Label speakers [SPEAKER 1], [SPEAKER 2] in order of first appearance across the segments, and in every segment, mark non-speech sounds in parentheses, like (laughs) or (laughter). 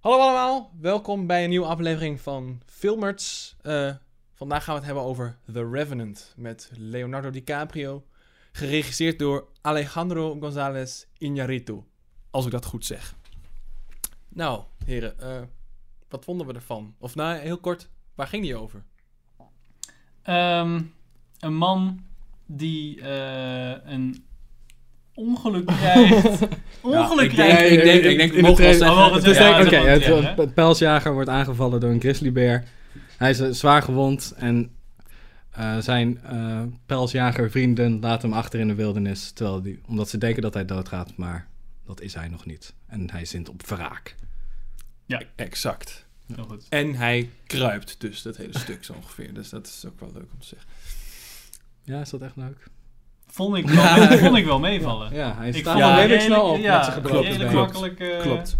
[SPEAKER 1] Hallo allemaal, welkom bij een nieuwe aflevering van Filmerts. Eh, vandaag gaan we het hebben over The Revenant met Leonardo DiCaprio. Geregisseerd door Alejandro González Iñárritu. Als ik dat goed zeg. Nou, heren, eh, wat vonden we ervan? Of nou, heel kort, waar ging die over?
[SPEAKER 2] Ehm, een man die eh, een
[SPEAKER 1] (laughs)
[SPEAKER 2] ongeluk krijgt. ongeluk
[SPEAKER 1] ik
[SPEAKER 2] krijgt.
[SPEAKER 1] denk- ik denk- ik denk- we mogen wel zeggen-
[SPEAKER 2] Oh, wacht,
[SPEAKER 1] het
[SPEAKER 2] het
[SPEAKER 1] is
[SPEAKER 2] is
[SPEAKER 1] denk-
[SPEAKER 2] ja,
[SPEAKER 3] Oké,
[SPEAKER 2] dat is
[SPEAKER 3] het,
[SPEAKER 2] wel een
[SPEAKER 3] het-
[SPEAKER 2] trailer,
[SPEAKER 3] het pijlsjager wordt aangevallen door een grizzlybeer. Hij is eh, zwaar gewond en eh, zijn eh pijlsjagervrienden laten hem achter in de wildernis. Terwijl die, omdat ze denken dat hij doodgaat, maar dat is hij nog niet. En hij zint op verraak.
[SPEAKER 1] Exact.
[SPEAKER 2] hè? Heel goed.
[SPEAKER 1] En hij kruipt dus, dat hele stuk zo ongeveer. Dus dat is ook wel leuk om te zeggen.
[SPEAKER 3] Ja, is dat echt leuk?
[SPEAKER 2] Vond ik wel,
[SPEAKER 1] Ja.
[SPEAKER 2] vond ik wel meevallen.
[SPEAKER 3] Ja, hij
[SPEAKER 2] Ik
[SPEAKER 3] staat
[SPEAKER 2] vond
[SPEAKER 3] wel
[SPEAKER 2] het
[SPEAKER 3] redelijk snel op
[SPEAKER 2] ja,
[SPEAKER 3] met zijn gebroken
[SPEAKER 1] klopt,
[SPEAKER 2] Redelijk
[SPEAKER 3] been.
[SPEAKER 1] klopt.
[SPEAKER 2] makkelijk. eh,
[SPEAKER 1] Klopt.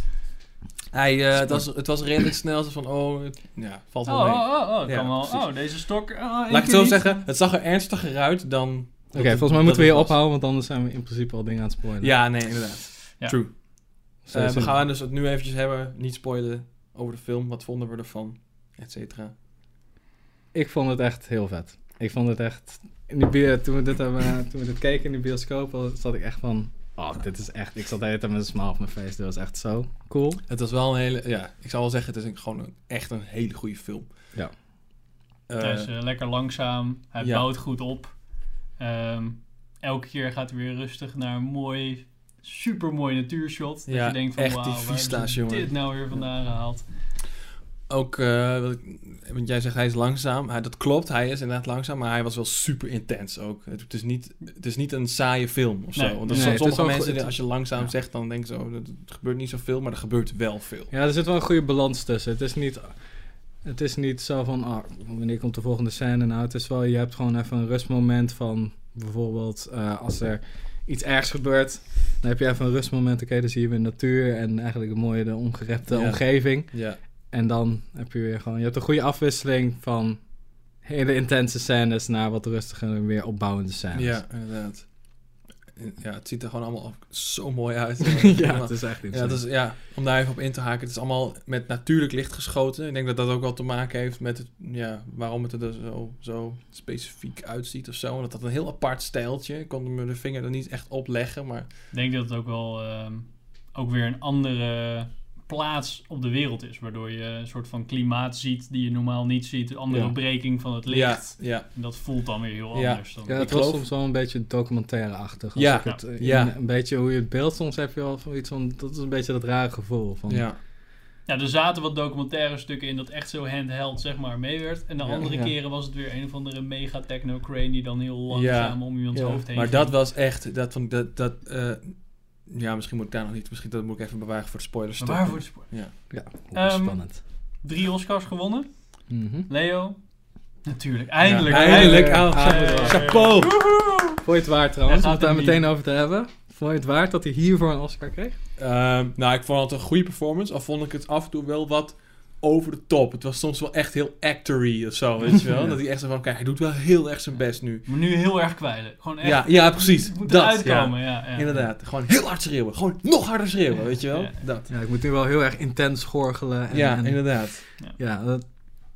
[SPEAKER 1] Hij, eh, het, was, het was redelijk snel, zo van, oh, het- ja, valt
[SPEAKER 2] Oh,
[SPEAKER 1] wel
[SPEAKER 2] oh,
[SPEAKER 1] mee.
[SPEAKER 2] oh, oh,
[SPEAKER 1] Ja,
[SPEAKER 2] kan wel.
[SPEAKER 1] precies.
[SPEAKER 2] oh deze stok. ah, één
[SPEAKER 1] Laat ik het
[SPEAKER 2] keer
[SPEAKER 1] zo
[SPEAKER 2] niet.
[SPEAKER 1] zeggen, het zag er ernstiger uit dan.
[SPEAKER 3] Oké, volgens mij moeten we hier ophouden, want anders zijn we in principe al dingen aan het spoilen.
[SPEAKER 1] Ja, nee, inderdaad.
[SPEAKER 2] Ja.
[SPEAKER 1] True.
[SPEAKER 3] Zo
[SPEAKER 1] Eh,
[SPEAKER 3] is
[SPEAKER 1] we
[SPEAKER 3] het.
[SPEAKER 1] gaan dus het nu eventjes hebben, niet spoilen over de film, wat vonden we ervan, et cetera.
[SPEAKER 3] Ik vond het echt heel vet. Ik vond het echt... In die bio, toen, we dit hebben, toen we dit keken in de bioscoop, al zat ik echt van... Oh, dit is echt... Ik zat de hele tijd met een smaal op mijn face. Dit was echt zo cool.
[SPEAKER 1] Het was wel een hele, ja, ik zou wel zeggen, het is een, gewoon een, echt een hele goede film.
[SPEAKER 3] Ja.
[SPEAKER 1] Eh,
[SPEAKER 2] Hij is eh, lekker langzaam. Hij
[SPEAKER 1] ja.
[SPEAKER 2] bouwt goed op. Ehm, elke keer gaat hij weer rustig naar een mooi, supermooi natuurshot. Dat
[SPEAKER 1] Ja,
[SPEAKER 2] je denkt van,
[SPEAKER 1] echt
[SPEAKER 2] wauw,
[SPEAKER 1] die
[SPEAKER 2] waar hebben ze
[SPEAKER 1] vista's, jongen.
[SPEAKER 2] dit nou weer vandaan gehaald?
[SPEAKER 1] Ook, eh, wat ik- want jij zegt hij is langzaam. Hij, dat klopt, hij is inderdaad langzaam, maar hij was wel super intens ook. Het, het is, niet, het is niet een saaie film of zo.
[SPEAKER 2] Nee.
[SPEAKER 1] Want
[SPEAKER 3] Nee,
[SPEAKER 1] er zijn
[SPEAKER 3] het is
[SPEAKER 1] sommige
[SPEAKER 3] wel
[SPEAKER 1] mensen,
[SPEAKER 3] goed.
[SPEAKER 1] die, als je langzaam
[SPEAKER 3] Ja.
[SPEAKER 1] zegt, dan denken ze, oh, dat- er gebeurt niet zoveel, maar er gebeurt wel veel.
[SPEAKER 3] Ja, er zit wel een goede balans tussen. Het is niet, het is niet zo van, ah, wanneer komt de volgende scène nou? Het is wel, je hebt gewoon even een rustmoment van, bijvoorbeeld eh, als er iets ergs gebeurt, dan heb je even een rustmoment. Oké, dan zie je weer de natuur en eigenlijk een mooie de ongerepte
[SPEAKER 1] Ja.
[SPEAKER 3] omgeving.
[SPEAKER 1] Ja.
[SPEAKER 3] En dan heb je weer gewoon, je hebt een goede afwisseling van hele intense scènes naar wat rustiger en weer opbouwende scènes.
[SPEAKER 1] Ja, inderdaad. Ja, het ziet er gewoon allemaal zo mooi uit.
[SPEAKER 3] (laughs) (laughs) ja, het is echt
[SPEAKER 1] ja, het is, ja, om daar even op in te haken. Het is allemaal met natuurlijk licht geschoten. Ik denk dat dat ook wel te maken heeft met het, ja, waarom het er dus zo, zo specifiek uitziet of zo. En dat dat een heel apart stijltje. Ik kon me de vinger er niet echt op leggen, maar
[SPEAKER 2] Ik denk dat het ook wel ehm, ook weer een andere plaats op de wereld is. Waardoor je een soort van klimaat ziet die je normaal niet ziet. Een andere
[SPEAKER 3] Ja.
[SPEAKER 2] breking van het
[SPEAKER 1] ja,
[SPEAKER 2] licht.
[SPEAKER 1] ja,
[SPEAKER 2] En dat voelt dan weer heel
[SPEAKER 1] Ja.
[SPEAKER 2] anders. Dan.
[SPEAKER 3] Ja,
[SPEAKER 1] Ik
[SPEAKER 3] het was
[SPEAKER 1] geloof-
[SPEAKER 3] soms wel een beetje documentaire-achtig. Als
[SPEAKER 1] Ja,
[SPEAKER 3] ik het, eh, in-
[SPEAKER 1] ja.
[SPEAKER 3] Een beetje hoe je het beeld soms heb je wel van iets van... Dat is een beetje dat rare gevoel van...
[SPEAKER 1] ja.
[SPEAKER 2] Ja, er zaten wat documentaire stukken in dat echt zo handheld zeg maar mee werd. En de
[SPEAKER 1] Ja.
[SPEAKER 2] andere
[SPEAKER 3] Ja.
[SPEAKER 2] keren was het weer een of andere mega techno crane die dan heel langzaam om iemands
[SPEAKER 3] Ja.
[SPEAKER 2] hoofd heen
[SPEAKER 1] Maar
[SPEAKER 2] ging.
[SPEAKER 1] dat was echt, dat vond ik, dat, dat eh, ja, misschien moet ik daar nog niet, misschien dat moet ik even bewaren voor de spoilers.
[SPEAKER 2] Maar waarvoor het sport?
[SPEAKER 3] Ja,
[SPEAKER 2] Ehm,
[SPEAKER 3] oh, spannend.
[SPEAKER 2] Drie Oscars gewonnen.
[SPEAKER 3] Mhm.
[SPEAKER 2] Leo? Natuurlijk. Eindelijk.
[SPEAKER 1] Ja, eindelijk.
[SPEAKER 2] Eh,
[SPEAKER 1] Ah,
[SPEAKER 2] eh,
[SPEAKER 1] Chapeau!
[SPEAKER 3] Vond je het waard trouwens,
[SPEAKER 2] Hij gaat
[SPEAKER 3] om het daar
[SPEAKER 2] hem
[SPEAKER 3] meteen
[SPEAKER 2] niet.
[SPEAKER 3] over te hebben. Vond je het waard dat hij hiervoor een Oscar kreeg?
[SPEAKER 1] Ehm, nou, ik vond het een goede performance. Al vond ik het af en toe wel wat over de top. Het was soms wel echt heel actory of zo, weet je wel.
[SPEAKER 2] (laughs)
[SPEAKER 3] Ja.
[SPEAKER 1] Dat hij echt zo van, kijk, hij doet wel heel erg zijn best nu.
[SPEAKER 2] Maar nu heel erg kwijlen. Gewoon echt.
[SPEAKER 1] Ja, ja, precies.
[SPEAKER 2] Het moet
[SPEAKER 1] dat,
[SPEAKER 2] eruit
[SPEAKER 1] ja.
[SPEAKER 2] komen, ja. ja.
[SPEAKER 1] Inderdaad. Gewoon heel hard schreeuwen. Gewoon nog harder schreeuwen, weet je wel.
[SPEAKER 2] Ja.
[SPEAKER 1] Dat.
[SPEAKER 3] Ja, ik moet nu wel heel erg intens gorgelen. En,
[SPEAKER 1] Ja,
[SPEAKER 3] en-
[SPEAKER 1] inderdaad.
[SPEAKER 3] ja dat,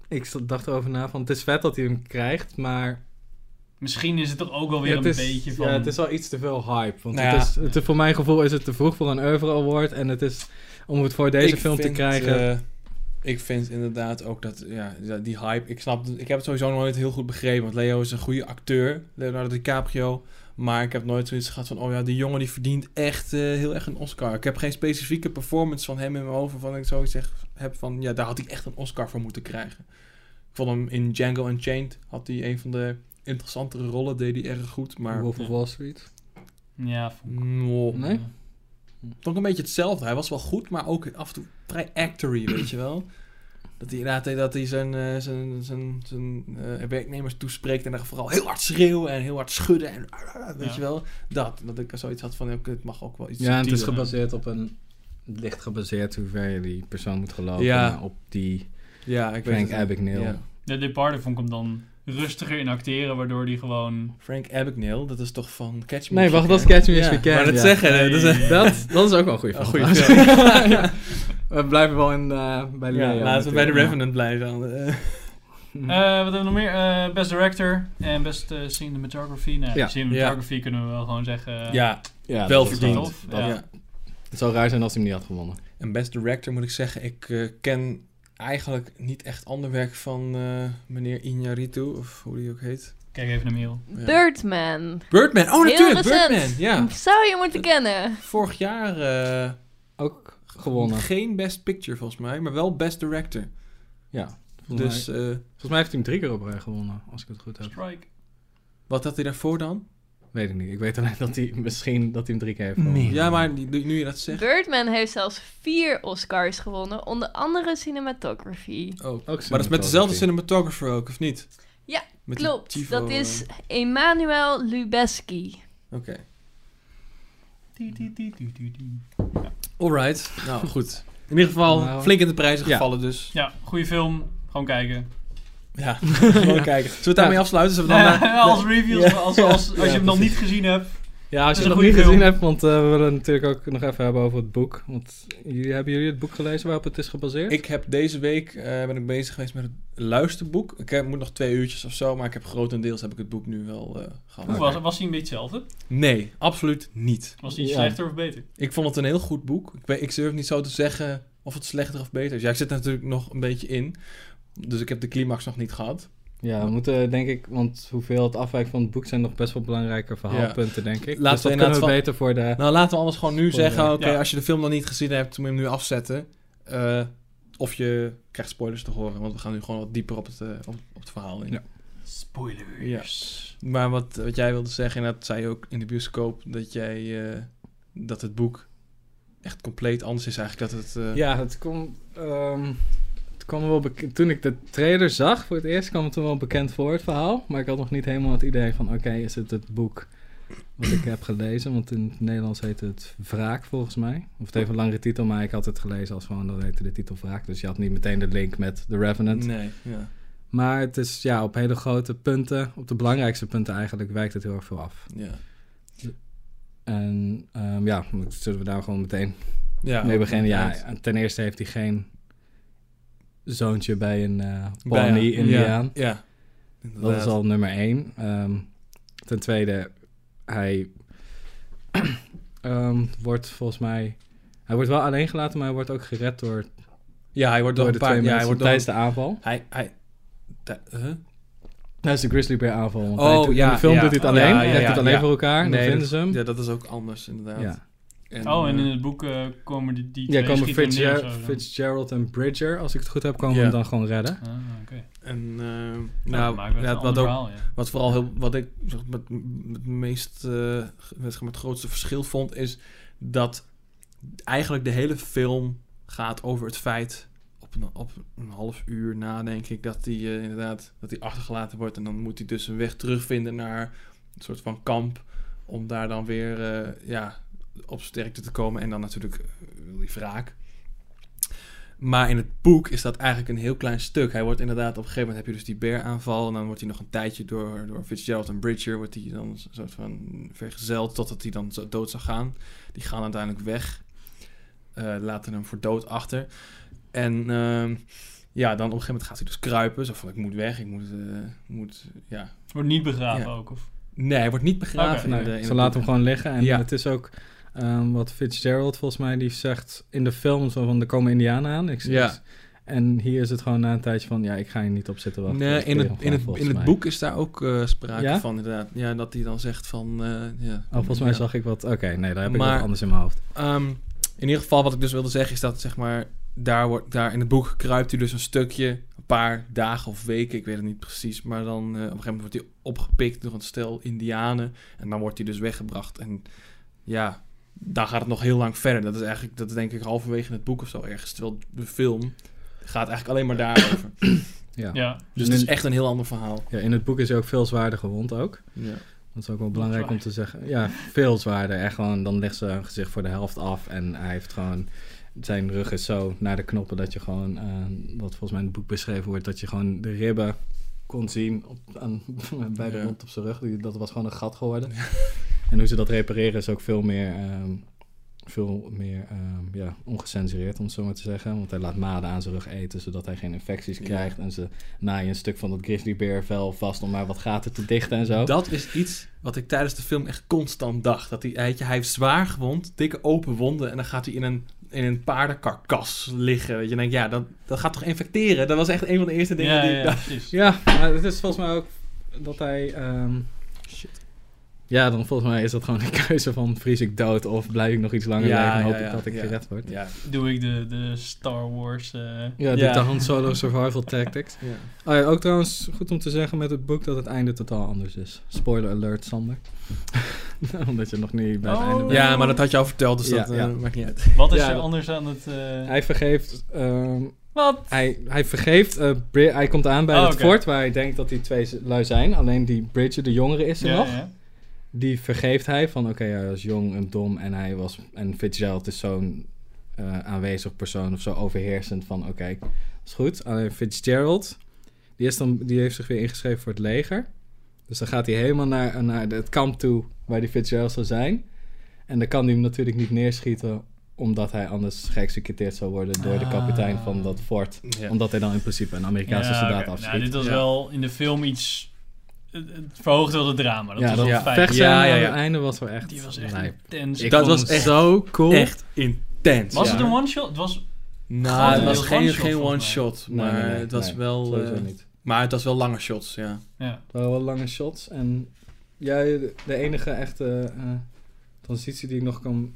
[SPEAKER 3] ik zat- dacht erover na van... Het is vet dat hij hem krijgt, maar...
[SPEAKER 2] Misschien is het toch ook wel weer
[SPEAKER 3] ja,
[SPEAKER 2] een
[SPEAKER 3] het is,
[SPEAKER 2] beetje
[SPEAKER 3] ja,
[SPEAKER 2] van...
[SPEAKER 3] het is wel iets te veel hype. Want
[SPEAKER 1] Nou ja.
[SPEAKER 3] het is, het is- voor mijn gevoel is het te vroeg voor een oeuvre award. En het is... Om het voor deze
[SPEAKER 1] Ik
[SPEAKER 3] film
[SPEAKER 1] vind,
[SPEAKER 3] te krijgen...
[SPEAKER 1] eh, ik vind inderdaad ook dat, ja, ja, die hype. Ik snap, ik heb het sowieso nooit heel goed begrepen. Want Leo is een goede acteur, Leonardo DiCaprio. Maar ik heb nooit zoiets gehad van, oh ja, die jongen die verdient echt eh, heel erg een Oscar. Ik heb geen specifieke performance van hem in mijn hoofd waarvan ik zoiets zeg, heb van, ja, daar had hij echt een Oscar voor moeten krijgen. Ik vond hem in Django Unchained, had hij een van de interessantere rollen, deed hij erg goed. Maar, mm,
[SPEAKER 3] Wolf of
[SPEAKER 2] Ja.
[SPEAKER 3] Wall Street.
[SPEAKER 2] Ja, van-
[SPEAKER 1] mwah.
[SPEAKER 3] Nee?
[SPEAKER 1] Vond ik een beetje hetzelfde. Hij was wel goed, maar ook af en toe vrij actory, weet je wel. Dat hij inderdaad dat hij zijn, eh, zijn, zijn, zijn eh, werknemers toespreekt en dan vooral heel hard schreeuwen en heel hard schudden en (laughs) weet
[SPEAKER 2] Ja.
[SPEAKER 1] je wel. Dat, dat ik zoiets had van, oké, het mag ook wel iets
[SPEAKER 3] Ja, en het is
[SPEAKER 1] subtieler.
[SPEAKER 3] gebaseerd op een... Licht gebaseerd hoe ver je die persoon moet geloven.
[SPEAKER 1] Ja. (laughs)
[SPEAKER 3] maar Op die
[SPEAKER 1] Ja, ik weet
[SPEAKER 3] Frank
[SPEAKER 1] het niet.
[SPEAKER 3] Abagnale.
[SPEAKER 1] Ja.
[SPEAKER 2] De Departed vond ik hem dan rustiger in acteren, waardoor die gewoon...
[SPEAKER 1] Frank Abagnale, dat is toch van Catch Me
[SPEAKER 3] Nee,
[SPEAKER 1] If
[SPEAKER 3] wacht,
[SPEAKER 1] You
[SPEAKER 3] dat is
[SPEAKER 1] Can?
[SPEAKER 3] Catch Me If
[SPEAKER 1] Ja,
[SPEAKER 3] You Can,
[SPEAKER 1] Maar dat
[SPEAKER 3] ja.
[SPEAKER 1] zeggen, hè, dat is
[SPEAKER 2] Nee.
[SPEAKER 3] Dat, dat is ook wel een goede
[SPEAKER 1] Een
[SPEAKER 3] film. (laughs)
[SPEAKER 1] goede film.
[SPEAKER 3] Ja. We blijven wel in, eh, bij
[SPEAKER 1] Ja,
[SPEAKER 3] Leo.
[SPEAKER 1] laten we bij The
[SPEAKER 3] natuurlijk.
[SPEAKER 1] Revenant blijven. Eh,
[SPEAKER 3] Ja.
[SPEAKER 2] Eh, wat hebben we nog meer? Eh, best director en best eh, cinematography. Nee,
[SPEAKER 3] Ja.
[SPEAKER 2] cinematography kunnen we wel gewoon zeggen. eh,
[SPEAKER 1] ja,
[SPEAKER 3] Ja,
[SPEAKER 1] Wel
[SPEAKER 3] dat is
[SPEAKER 1] verdiend.
[SPEAKER 3] wel- dat-
[SPEAKER 2] Ja.
[SPEAKER 1] ja.
[SPEAKER 3] Het zou raar zijn als hij hem niet had gewonnen.
[SPEAKER 1] En Best Director moet ik zeggen, ik eh, ken eigenlijk niet echt ander werk van eh, meneer Iñárritu, of hoe die ook heet.
[SPEAKER 2] Kijk even naar Miel.
[SPEAKER 1] Ja.
[SPEAKER 4] Birdman.
[SPEAKER 1] Birdman, oh
[SPEAKER 4] Heel
[SPEAKER 1] natuurlijk,
[SPEAKER 4] recent.
[SPEAKER 1] Birdman, ja.
[SPEAKER 4] Zou je
[SPEAKER 1] Eh,
[SPEAKER 4] moeten kennen.
[SPEAKER 1] Vorig jaar eh,
[SPEAKER 3] Ook gewonnen.
[SPEAKER 1] geen Best Picture volgens mij, maar wel Best Director.
[SPEAKER 3] Ja. Volgens,
[SPEAKER 1] Dus
[SPEAKER 3] mij,
[SPEAKER 1] eh,
[SPEAKER 3] volgens mij heeft hij hem drie keer op rij gewonnen, als ik het goed heb.
[SPEAKER 2] Strike.
[SPEAKER 1] wat had hij daarvoor dan?
[SPEAKER 3] Weet ik niet. Ik weet alleen dat hij misschien dat hij hem drie keer heeft gewonnen.
[SPEAKER 1] Ja, maar die- nu je dat zegt...
[SPEAKER 4] Birdman heeft zelfs vier Oscars gewonnen, onder andere cinematography.
[SPEAKER 1] Oh.
[SPEAKER 3] Ook
[SPEAKER 1] Maar dat is met dezelfde cinematographer ook, of niet?
[SPEAKER 4] Ja,
[SPEAKER 1] Met die
[SPEAKER 4] Klopt,
[SPEAKER 1] Tivo,
[SPEAKER 4] dat
[SPEAKER 1] eh,
[SPEAKER 4] is Emmanuel Lubeski.
[SPEAKER 1] Oké.
[SPEAKER 2] Die, die, die, die, die, die.
[SPEAKER 1] Alright, nou (laughs) goed. In ieder geval
[SPEAKER 3] Nou.
[SPEAKER 1] flink in de prijzen
[SPEAKER 3] Ja.
[SPEAKER 1] gevallen dus.
[SPEAKER 2] Ja, goede film. Gewoon kijken.
[SPEAKER 1] (laughs) Ja, gewoon kijken. Zullen we het daarmee afsluiten? Zullen we dan eh, naar-
[SPEAKER 2] (laughs) als reviews, als, als, als, je
[SPEAKER 1] Ja,
[SPEAKER 2] hem nog
[SPEAKER 1] precies.
[SPEAKER 2] niet gezien hebt.
[SPEAKER 3] Ja, als
[SPEAKER 2] is
[SPEAKER 3] je het
[SPEAKER 2] een
[SPEAKER 3] nog
[SPEAKER 2] goede
[SPEAKER 3] niet gezien
[SPEAKER 2] film.
[SPEAKER 3] hebt, want eh, we willen natuurlijk ook nog even hebben over het boek. Want jullie, hebben jullie het boek gelezen waarop het is gebaseerd?
[SPEAKER 1] Ik heb deze week eh, ben ik bezig geweest met het luisterboek. Ik heb, moet nog twee uurtjes of zo, maar ik heb grotendeels heb ik het boek nu wel eh gehad.
[SPEAKER 2] Hoe was, was hij een beetje hetzelfde?
[SPEAKER 1] Nee, absoluut niet.
[SPEAKER 2] Was hij
[SPEAKER 3] Ja.
[SPEAKER 2] slechter of beter?
[SPEAKER 1] Ik vond het een heel goed boek. Ik, weet, ik durf niet zo te zeggen of het slechter of beter is. Ja, ik zit er natuurlijk nog een beetje in. Dus ik heb de climax nog niet gehad.
[SPEAKER 3] Ja, we moeten denk ik, want hoeveel het afwijkt van het boek zijn nog best wel belangrijke verhaalpunten, denk ik.
[SPEAKER 1] Laten we
[SPEAKER 3] dus dat
[SPEAKER 1] inderdaad
[SPEAKER 3] kunnen we
[SPEAKER 1] van-
[SPEAKER 3] beter voor de...
[SPEAKER 1] Nou, laten we anders gewoon nu
[SPEAKER 3] Spoiler.
[SPEAKER 1] zeggen... Oké,
[SPEAKER 2] Ja.
[SPEAKER 1] als je de film nog niet gezien hebt, moet je hem nu afzetten. Eh, of je krijgt spoilers te horen. Want we gaan nu gewoon wat dieper op het, eh, op, op het verhaal in.
[SPEAKER 3] Ja.
[SPEAKER 2] Spoilers.
[SPEAKER 1] Maar wat, wat jij wilde zeggen, en dat zei je ook in de bioscoop, dat jij eh, dat het boek echt compleet anders is eigenlijk. Dat het, eh,
[SPEAKER 3] Ja, het kwam, ehm, het kwam wel bekend... Toen ik de trailer zag voor het eerst, kwam het toen wel bekend voor het verhaal. Maar ik had nog niet helemaal het idee van, oké, is het het boek wat ik heb gelezen? Want in het Nederlands heet het Wraak, volgens mij. Of het heeft een langere titel, maar ik had het gelezen als gewoon, dat heette de titel Wraak. Dus je had niet meteen de link met The Revenant.
[SPEAKER 1] nee, ja.
[SPEAKER 3] Maar het is ja, op hele grote punten, op de belangrijkste punten eigenlijk, wijkt het heel erg veel af.
[SPEAKER 1] ja.
[SPEAKER 3] En ehm, ja, moet- zullen we daar gewoon meteen
[SPEAKER 1] ja
[SPEAKER 3] mee beginnen? Ja,
[SPEAKER 1] inderdaad.
[SPEAKER 3] ten eerste heeft hij geen zoontje bij een eh Pawnee
[SPEAKER 1] Bijna.
[SPEAKER 3] Indiaan.
[SPEAKER 1] Ja, ja.
[SPEAKER 3] Dat is
[SPEAKER 1] Inderdaad.
[SPEAKER 3] al nummer één. Ehm, ten tweede, hij ehm, wordt volgens mij... Hij wordt wel alleen gelaten, maar hij wordt ook gered door, door,
[SPEAKER 1] Ja, hij wordt door,
[SPEAKER 3] de
[SPEAKER 1] een paar...
[SPEAKER 3] twee
[SPEAKER 1] Ja, hij
[SPEAKER 3] mensen
[SPEAKER 1] wordt door...
[SPEAKER 3] tijdens de aanval.
[SPEAKER 1] Hij... hij da- huh?
[SPEAKER 3] Tijdens de Grizzly Bear aanval. want
[SPEAKER 1] Oh,
[SPEAKER 3] hij doet- in
[SPEAKER 1] ja,
[SPEAKER 3] de film
[SPEAKER 1] ja.
[SPEAKER 3] doet hij het alleen.
[SPEAKER 1] Ja, ja,
[SPEAKER 3] hij heeft
[SPEAKER 1] ja,
[SPEAKER 3] het alleen
[SPEAKER 1] ja.
[SPEAKER 3] voor elkaar. en dan
[SPEAKER 1] Nee,
[SPEAKER 3] vinden ze hem.
[SPEAKER 1] Ja, dat is ook anders inderdaad.
[SPEAKER 3] Ja,
[SPEAKER 2] Oh, en
[SPEAKER 1] eh,
[SPEAKER 2] in het boek eh, komen die, die twee
[SPEAKER 3] ja komen
[SPEAKER 2] schieten neer of
[SPEAKER 3] Fitzger-
[SPEAKER 2] zo dan.
[SPEAKER 3] Fitzgerald en Bridger, als ik het goed heb, komen
[SPEAKER 1] Ja.
[SPEAKER 3] hem dan gewoon redden.
[SPEAKER 2] Ah, oké.
[SPEAKER 1] en, eh,
[SPEAKER 2] Nou,
[SPEAKER 1] nou,
[SPEAKER 2] maar
[SPEAKER 1] ja,
[SPEAKER 2] dat
[SPEAKER 1] wat, ook,
[SPEAKER 2] verhaal, ja.
[SPEAKER 1] wat vooral heel... Wat ik zeg, met, met het meest... eh, met, het grootste verschil vond, is dat eigenlijk de hele film gaat over het feit... Op een, op een half uur na, denk ik, dat hij eh, inderdaad dat hij achtergelaten wordt. En dan moet hij dus een weg terugvinden naar een soort van kamp. Om daar dan weer eh, ja, op sterkte te komen. En dan natuurlijk eh, wil die wraak. Maar in het boek is dat eigenlijk een heel klein stuk. Hij wordt inderdaad, op een gegeven moment heb je dus die bearaanval. En dan wordt hij nog een tijdje door, door Fitzgerald en Bridger... wordt hij dan een soort van vergezeld totdat hij dan zo- dood zou gaan. Die gaan uiteindelijk weg. Eh, laten hem voor dood achter. En ehm, ja, dan op een gegeven moment gaat hij dus kruipen. Zo van, ik moet weg, ik moet... eh, moet ja.
[SPEAKER 2] Wordt niet begraven
[SPEAKER 1] Ja.
[SPEAKER 2] ook, of?
[SPEAKER 1] Nee, hij wordt niet begraven.
[SPEAKER 2] Oké.
[SPEAKER 1] in
[SPEAKER 3] Nee,
[SPEAKER 1] de- in
[SPEAKER 3] ze
[SPEAKER 1] het
[SPEAKER 3] laten
[SPEAKER 1] boek.
[SPEAKER 3] hem gewoon liggen. En
[SPEAKER 1] Ja.
[SPEAKER 3] het is ook ehm, wat Fitzgerald volgens mij, die zegt in de film zo van, er komen indianen aan. Ik "Dus-"
[SPEAKER 1] Ja.
[SPEAKER 3] En hier is het gewoon na een tijdje van, ja, ik ga hier niet op zitten wachten.
[SPEAKER 1] Nee,
[SPEAKER 3] Ik
[SPEAKER 1] in het,
[SPEAKER 3] leer hem
[SPEAKER 1] in,
[SPEAKER 3] gewoon,
[SPEAKER 1] het,
[SPEAKER 3] volgens
[SPEAKER 1] in het
[SPEAKER 3] mij.
[SPEAKER 1] boek is daar ook eh, sprake
[SPEAKER 3] Ja?
[SPEAKER 1] van, inderdaad. Ja, dat hij dan zegt van... eh, ja,
[SPEAKER 3] Oh, volgens mij
[SPEAKER 1] ja.
[SPEAKER 3] zag ik wat... Oké, nee, daar heb ik
[SPEAKER 1] Maar-
[SPEAKER 3] wat anders in mijn hoofd.
[SPEAKER 1] Ehm, in ieder geval, wat ik dus wilde zeggen, is dat zeg maar, daar, wordt, daar in het boek kruipt hij dus een stukje, een paar dagen of weken, ik weet het niet precies. Maar dan eh, op een gegeven moment wordt hij opgepikt door een stel Indianen. En dan wordt hij dus weggebracht. En ja, daar gaat het nog heel lang verder. Dat is eigenlijk, dat is denk ik halverwege in het boek of zo ergens. Terwijl de film gaat eigenlijk alleen maar daarover.
[SPEAKER 3] Ja.
[SPEAKER 2] Ja.
[SPEAKER 1] Dus het is echt een heel ander verhaal.
[SPEAKER 3] Ja, in het boek is hij ook veel zwaarder gewond ook.
[SPEAKER 1] Ja.
[SPEAKER 3] Dat is ook wel belangrijk om te zeggen. Ja, veel zwaarder. Echt gewoon, dan ligt zijn gezicht voor de helft af. En hij heeft gewoon... Zijn rug is zo naar de knoppen dat je gewoon... eh, wat volgens mij in het boek beschreven wordt... dat je gewoon de ribben kon zien op, aan, (laughs) bij de
[SPEAKER 1] Ja.
[SPEAKER 3] mond op zijn rug. Die- Dat was gewoon een gat geworden. (laughs) En hoe ze dat repareren is ook veel meer, ehm, veel meer ehm, ja, ongecensureerd, om het zo maar te zeggen. Want hij laat maden aan zijn rug eten, zodat hij geen infecties
[SPEAKER 1] Ja.
[SPEAKER 3] krijgt. En ze naaien een stuk van dat grizzlybeervel vast om maar wat gaten te dichten en zo.
[SPEAKER 1] Dat is iets wat ik tijdens de film echt constant dacht. Dat die eitje, hij heeft zwaar gewond, dikke open wonden. En dan gaat hij in een, in een paardenkarkas liggen. Weet je, en dan denk ik, ja, dat, dat gaat toch infecteren? Dat was echt een van de eerste dingen
[SPEAKER 2] ja,
[SPEAKER 1] die
[SPEAKER 2] ja,
[SPEAKER 1] (laughs) ik
[SPEAKER 2] ja,
[SPEAKER 1] dacht.
[SPEAKER 2] precies.
[SPEAKER 3] Ja, maar het is volgens mij ook dat hij... ehm, Ja, dan volgens mij is dat gewoon een keuze van vries ik dood of blijf ik nog iets langer
[SPEAKER 1] Ja,
[SPEAKER 3] leven en hoop
[SPEAKER 1] ja,
[SPEAKER 3] ik
[SPEAKER 1] ja,
[SPEAKER 3] dat ik
[SPEAKER 1] ja.
[SPEAKER 3] gered word.
[SPEAKER 1] Ja,
[SPEAKER 2] Doe ik de, de Star Wars... eh,
[SPEAKER 3] Ja, doet
[SPEAKER 1] Ja.
[SPEAKER 3] de Han Solo Survival Tactics.
[SPEAKER 1] ja.
[SPEAKER 3] Oh ja, ook trouwens goed om te zeggen met het boek dat het einde totaal anders is. Spoiler alert, Sander. (laughs) Omdat je nog niet bij het
[SPEAKER 2] Oh.
[SPEAKER 3] einde bent.
[SPEAKER 1] Ja, maar dat had je al verteld, dus
[SPEAKER 3] Ja,
[SPEAKER 1] dat eh,
[SPEAKER 3] ja.
[SPEAKER 1] maakt niet uit.
[SPEAKER 2] Wat is
[SPEAKER 3] Ja,
[SPEAKER 2] er
[SPEAKER 3] dat-
[SPEAKER 2] anders aan het... eh,
[SPEAKER 3] Hij vergeeft... ehm,
[SPEAKER 2] Wat?
[SPEAKER 3] hij, hij vergeeft... eh, Bri- hij komt aan bij
[SPEAKER 2] Oh,
[SPEAKER 3] het
[SPEAKER 2] oké.
[SPEAKER 3] fort waar hij denkt dat die twee z- lui zijn. Alleen die Bridget, de jongere, is er
[SPEAKER 2] Ja,
[SPEAKER 3] nog.
[SPEAKER 2] ja.
[SPEAKER 3] Die vergeeft hij van, oké, hij was jong en dom en hij was... En Fitzgerald is zo'n eh, aanwezig persoon of zo overheersend van, oké, dat is goed. Alleen Fitzgerald, die, is dan, die heeft zich weer ingeschreven voor het leger. Dus dan gaat hij helemaal naar, naar het kamp toe waar die Fitzgerald zou zijn. En dan kan hij hem natuurlijk niet neerschieten omdat hij anders geëxecuteerd zou worden door de kapitein van dat fort.
[SPEAKER 1] Ja.
[SPEAKER 3] Omdat hij dan in principe een Amerikaanse
[SPEAKER 2] Ja,
[SPEAKER 3] soldaat
[SPEAKER 2] oké.
[SPEAKER 3] afschiet.
[SPEAKER 2] Nou, dit was
[SPEAKER 1] Ja.
[SPEAKER 2] wel in de film iets... Het, het verhoogde wel het drama. Dat
[SPEAKER 3] ja,
[SPEAKER 2] was
[SPEAKER 3] dat
[SPEAKER 2] wel
[SPEAKER 1] ja.
[SPEAKER 2] fijn.
[SPEAKER 3] vechten
[SPEAKER 1] Ja, ja,
[SPEAKER 3] aan
[SPEAKER 1] ja.
[SPEAKER 3] het einde was wel echt...
[SPEAKER 2] Die was echt
[SPEAKER 3] lijp.
[SPEAKER 2] intens.
[SPEAKER 3] Ik
[SPEAKER 1] Dat
[SPEAKER 3] vond
[SPEAKER 1] was
[SPEAKER 3] hem
[SPEAKER 1] echt-
[SPEAKER 3] zo cool.
[SPEAKER 1] Echt intens.
[SPEAKER 2] was
[SPEAKER 1] ja.
[SPEAKER 2] het een one-shot? Het was...
[SPEAKER 1] Nou, het
[SPEAKER 3] Een
[SPEAKER 1] was
[SPEAKER 2] heel
[SPEAKER 1] geen
[SPEAKER 2] one-shot,
[SPEAKER 1] geen
[SPEAKER 2] volgens mij.
[SPEAKER 1] one-shot,
[SPEAKER 3] Nee,
[SPEAKER 1] maar
[SPEAKER 3] nee, nee,
[SPEAKER 1] het was
[SPEAKER 3] nee,
[SPEAKER 1] wel...
[SPEAKER 3] Sowieso
[SPEAKER 1] eh,
[SPEAKER 3] niet.
[SPEAKER 1] maar het was wel lange shots, ja.
[SPEAKER 2] Ja.
[SPEAKER 3] Het waren wel lange shots. En ja, de de enige echte eh, transitie die ik nog kan